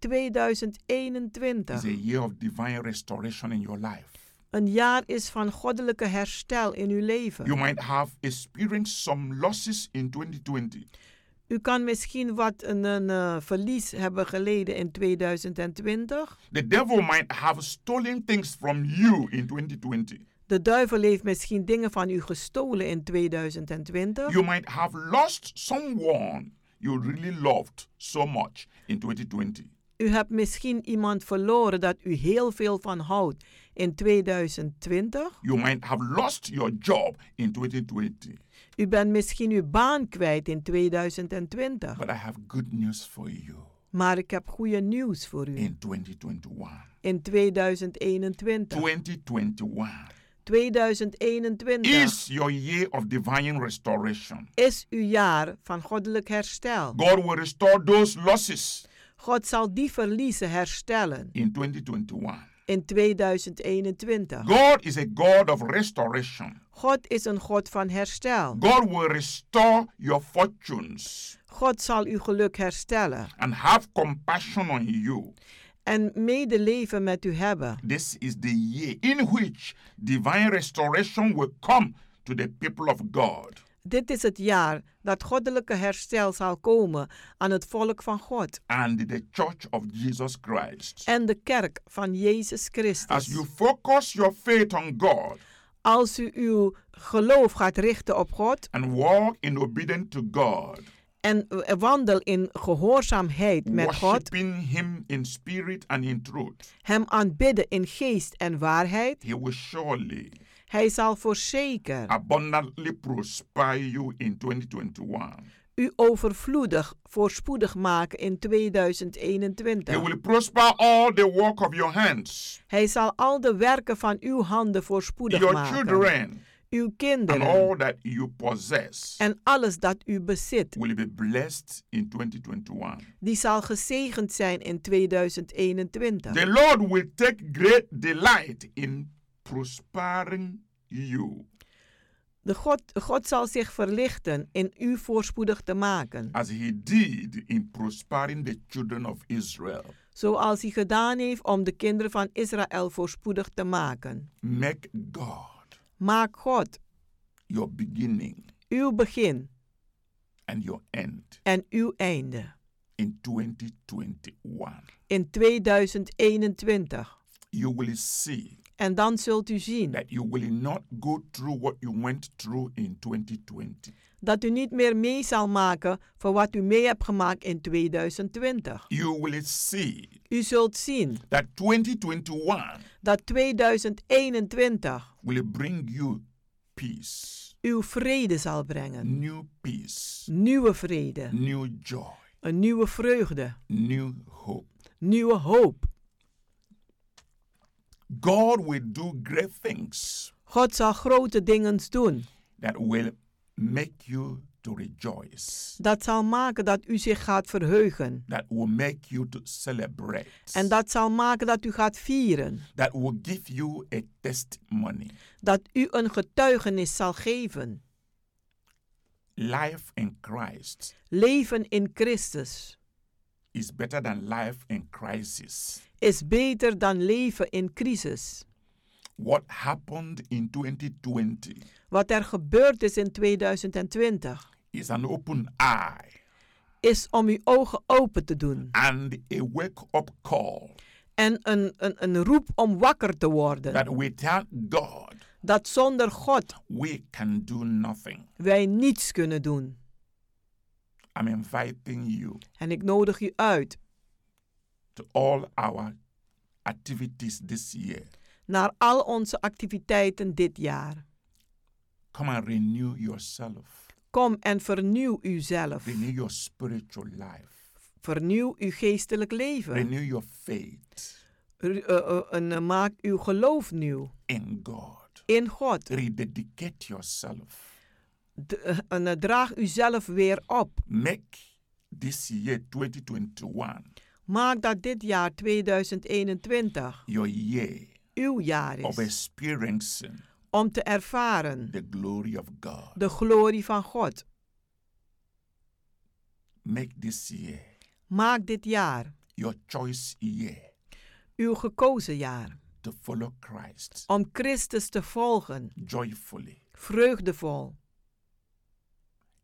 is a
2021
year of divine restoration in your life.
een jaar is van goddelijke herstel in uw
You
leven.
might have experienced some losses in 2020,
U kan misschien wat een, een, eh, verlies hebben geleden in 2020.
the devil might have stolen things from you in 2020.
De duivel heeft misschien dingen van u gestolen in 2020.
You might have lost someone you really loved so much in 2020.
U hebt misschien iemand verloren dat u heel veel van houdt in 2020.
You might have lost your job in 2020.
U bent misschien uw baan kwijt in 2020.
But I have good news for you.
Maar ik heb goede nieuws voor u.
In 2021,
In 2021.
2021 is
2021
your year of divine restoration.
is uw jaar van goddelijk herstel.
God will restore those losses
God zal die verliezen herstellen
in 2021.
in 2021.
God is a God of restoration.
God is een God van herstel.
God will restore your fortunes
God zal uw geluk herstellen
and have compassion on you.
en medeleven met u hebben.
This is the year in which divine restoration will come to the people of God.
Dit is het jaar dat goddelijke herstel zal komen aan het volk van God
and the church of Jesus Christ.
en de kerk van Jezus
As
Christus.
you focus your faith on God
Als u uw geloof gaat richten op God
and walk in obedience to God,
en eh, wandel in gehoorzaamheid met God,
worshiping Him in spirit and in truth,
Hem aanbidden in geest en waarheid,
He will surely
Hij zal
Ah.
voorzeker
abundantly prosper you in 2021.
u overvloedig voorspoedig maken in
He
2021.
will prosper all the work of your hands,
Hij zal al de werken van uw handen voorspoedig
your
maken.
children,
Uw
and
kinderen
all that you possess.
en alles dat u bezit,
Will be blessed in 2021.
die zal gezegend zijn
The
in 2021.
Lord will take great delight in prospering you.
De God, God zal zich verlichten in u voorspoedig te maken,
as he did in prospering the children of Israel.
zoals hij gedaan heeft om de kinderen van Israël voorspoedig te maken.
Make God
Maak God
your beginning
uw begin
and your end
en uw einde
in 2021.
in 2021.
You will see
En dan zult u zien
that you will not go through what you went through in 2020.
dat u niet meer mee zal maken voor wat u mee hebt gemaakt in 2020.
You will see
U zult zien
that 2021
dat 2021
will bring you peace,
uw vrede zal brengen.
new peace,
Nieuwe vrede,
new joy,
een nieuwe vreugde,
new hope.
nieuwe hoop.
God will do great things
God zal grote dingen doen.
that will make you to rejoice,
Dat zal maken dat u zich gaat verheugen.
that will make you to celebrate,
En dat zal maken dat u gaat vieren.
that will give you a testimony.
Dat u een getuigenis zal geven.
Life in Christ
Leven in Christus
is better than life in crisis.
is beter dan leven in crisis.
What happened in 2020
Wat er gebeurd is in 2020
is an open eye
is om uw ogen open te doen.
and a wake up call
En een, een, een roep om wakker te worden.
that without God,
Dat zonder God
we can do nothing.
wij niets kunnen doen.
I'm inviting you
En ik nodig u uit
to all our activities this year.
naar al onze activiteiten dit jaar.
Come and renew yourself.
Kom en vernieuw uzelf.
Renew your spiritual life.
Vernieuw uw geestelijk leven.
Renew your faith
R- eh, eh, en eh, maak uw geloof nieuw
in God.
in God.
Rededicate yourself
D- en eh, draag uzelf weer op.
Make this year 2021
Maak dat dit jaar 2021
your year
uw jaar
of
is
experiencing
om te ervaren
the glory of God.
de glorie van God.
Make this year
Maak dit jaar
your choice year
uw gekozen jaar
to follow Christ
om Christus te volgen,
joyfully.
vreugdevol.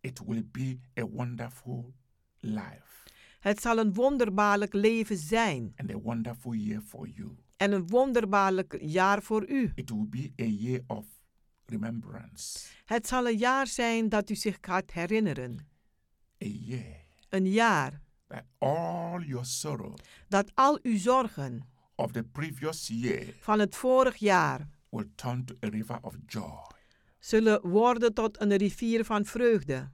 It will be a wonderful life
Het zal een wonderbaarlijk leven zijn
and a wonderful year for you.
en een wonderbaarlijk jaar voor u.
It will be a year of remembrance,
Het zal een jaar zijn dat u zich gaat herinneren.
a year
Een jaar
that all your sorrow
dat al uw zorgen
of the previous year
van het vorig jaar
will turn to a river of joy.
zullen worden tot een rivier van vreugde.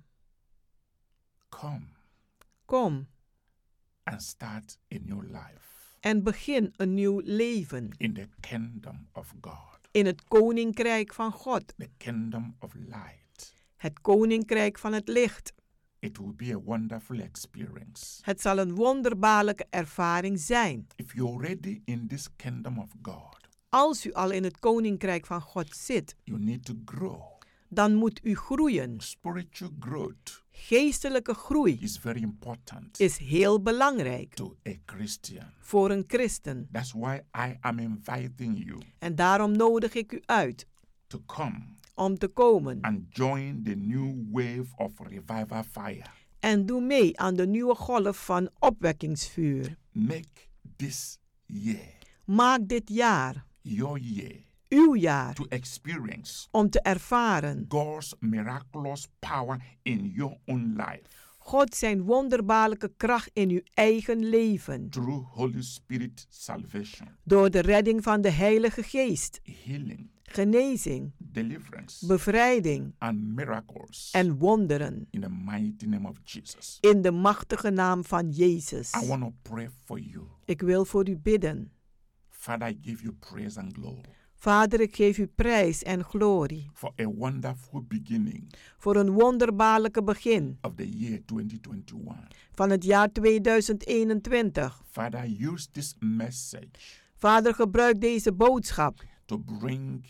Come
Kom
and start a new life
en begin een nieuw leven
in the kingdom of God,
in het koninkrijk van God,
the kingdom of light.
het koninkrijk van het licht.
It will be a wonderful experience.
Het zal een wonderbaarlijke ervaring zijn.
If you're already in this kingdom of God,
Als u al in het koninkrijk van God zit,
you need to grow.
dan moet u groeien.
Spiritual growth
Geestelijke groei
is very important
is heel belangrijk
to a Christian.
voor een christen.
That's why I am inviting you
En daarom nodig ik u uit
to come
om te komen.
and join the new wave of revival fire.
En doe mee aan de nieuwe golf van opwekkingsvuur.
Make this year
Maak dit jaar
your year
uw jaar
to experience
om te ervaren
God's miraculous power in your own life
God zijn wonderbaarlijke kracht in uw eigen leven.
through Holy Spirit salvation,
Door de redding van de Heilige Geest,
healing,
genezing,
deliverance,
bevrijding
and miracles
en wonderen.
in the mighty name of Jesus.
In de machtige naam van Jezus.
I want to pray for you.
Ik wil voor u bidden.
Father, I give you praise and glory
Vader, ik geef u prijs en glorie
for a wonderful beginning
voor een wonderbaarlijke begin
of the year 2021.
van het jaar 2021.
Father, use this message
Vader, gebruik deze boodschap
to bring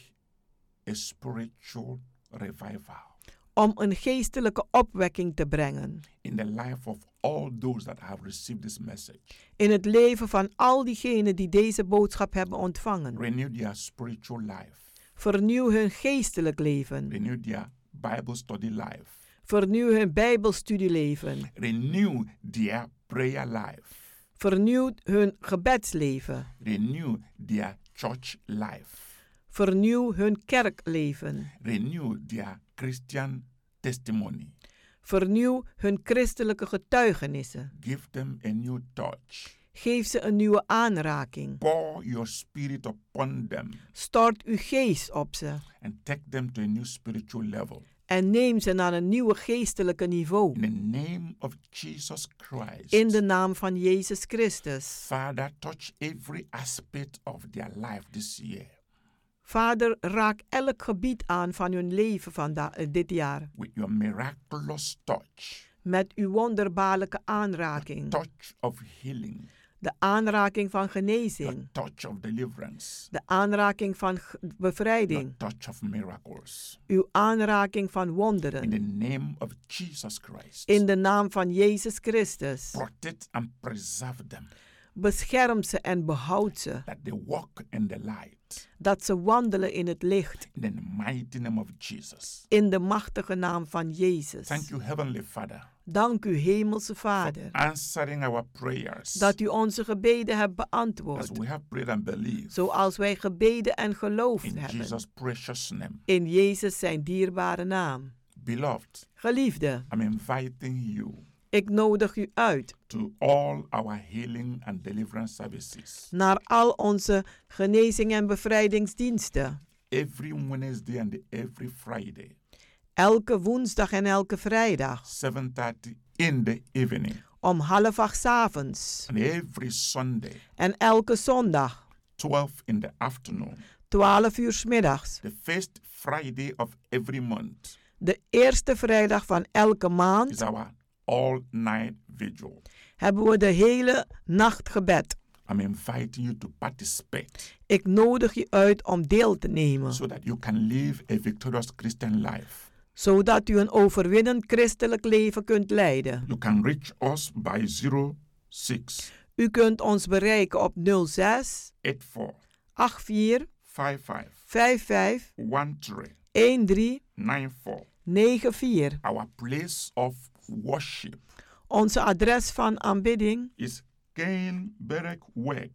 a spiritual revival
om een geestelijke opwekking te brengen
in the life of all those that have received this message.
in het leven van al diegenen die deze boodschap hebben ontvangen.
Renew their spiritual life,
Vernieuw hun geestelijk leven.
renew their Bible study life,
Vernieuw hun Bijbelstudieleven.
renew their prayer life,
Vernieuw hun gebedsleven.
renew their church life,
Vernieuw hun kerkleven.
renew their Christian testimony.
Vernieuw hun christelijke getuigenissen.
Give them a new touch.
Geef ze een nieuwe aanraking.
Pour your spirit upon them
Stort uw geest op ze
and take them to a new spiritual level.
en neem ze naar een nieuwe geestelijke niveau.
In the name of Jesus Christ,
In de naam van Jezus Christus.
Father, touch every aspect of their life this year.
Vader, raak elk gebied aan van hun leven vanda- eh, dit jaar.
With your miraculous touch,
Met uw wonderbaarlijke aanraking.
touch of healing,
De aanraking van
your
genezing.
touch of deliverance,
De aanraking van ge-
your
bevrijding.
touch of miracles.
Uw aanraking van
In the
wonderen.
name of Jesus Christ,
In de naam van Jezus Christus.
protect and preserve them
Bescherm ze en behoud ze.
that they walk in the light.
Dat ze wandelen in het licht.
In the mighty name of Jesus.
In de machtige naam van Jezus.
Thank you, Heavenly Father,
Dank u, Hemelse Vader.
answering our prayers
Dat u onze gebeden hebt
as
beantwoord.
we have prayed and believed.
Zoals wij gebeden en geloofd
in
hebben.
Jesus' precious name.
In Jezus zijn dierbare naam.
Beloved,
Geliefde,
I'm inviting you
ik nodig u uit
to all our healing and deliverance services
naar al onze genezing- en bevrijdingsdiensten.
every Wednesday and every Friday,
Elke woensdag en elke vrijdag.
7:30 in the evening,
Om half acht 's avonds.
and every Sunday,
En elke zondag.
12 in the afternoon.
12 uur 's middags.
The first Friday of every month
de eerste vrijdag van elke maand
is our all-night vigil.
hebben we de hele nacht gebed.
I'm inviting you to participate
Ik nodig je uit om deel te nemen,
so that you can live a victorious Christian life.
zodat u een overwinnend christelijk leven kunt leiden.
You can reach us by 06
U kunt ons bereiken op 06
84
84
55
55
13
13
94.
94.
Our place of worship
Onze adres van aanbidding
is Kenberg Weg,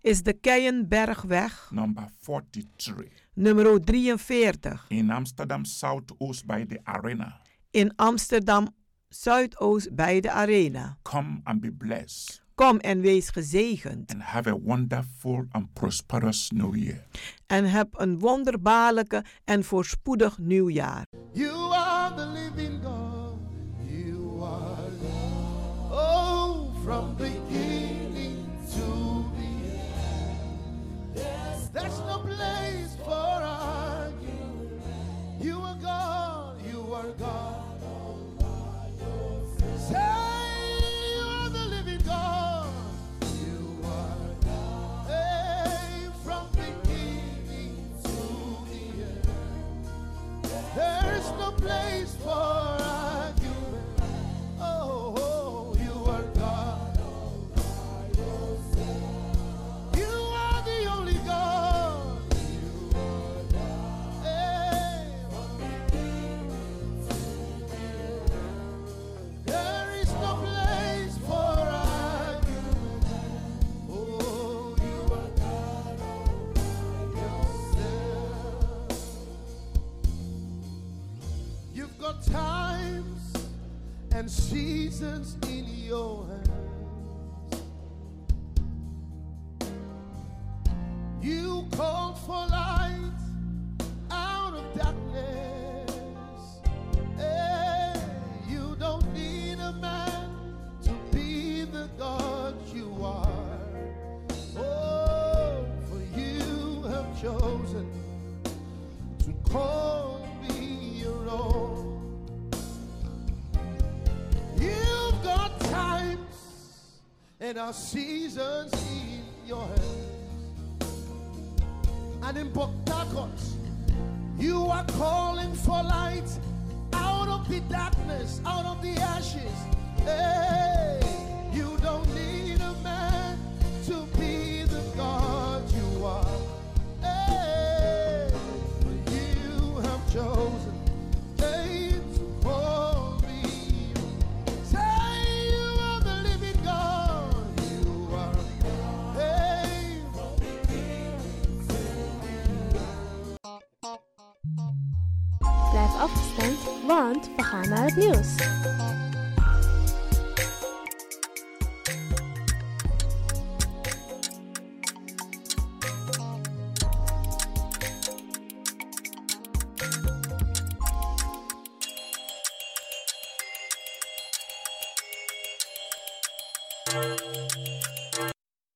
is de Keienbergweg,
number 43,
nummer 43,
in Amsterdam Zuidoost by the arena.
in Amsterdam Zuidoost bij de Arena.
Come and be blessed
Kom en wees gezegend
and have a wonderful and prosperous new year.
en heb een wonderbaarlijke en voorspoedig nieuwjaar.
You are the living God. You are God. Oh, from beginning to the end. Yes, there's no place for arguing. You are God. You are God. all by yourself. Say you are the living God. You are God. Hey, from beginning to the end. There's no place for argument. Oh, oh, you are God. You are the only God. Hey. There is no place for argument. Oh, you are God all by yourself. You've got times and seasons in your hands. You called for light out of darkness. Hey, you don't need a man to be the God you are. Oh, for you have chosen to call me your own. You've got times and our seasons in your hands. And in Boktakos, you are calling for light out of the darkness, out of the ashes. Hey, you don't need a man to be the God you are. Hey, for you have chosen. hey, to call me. Say you are the living God. You are. Hey,
Blijf afgestemd, want we gaan naar het nieuws.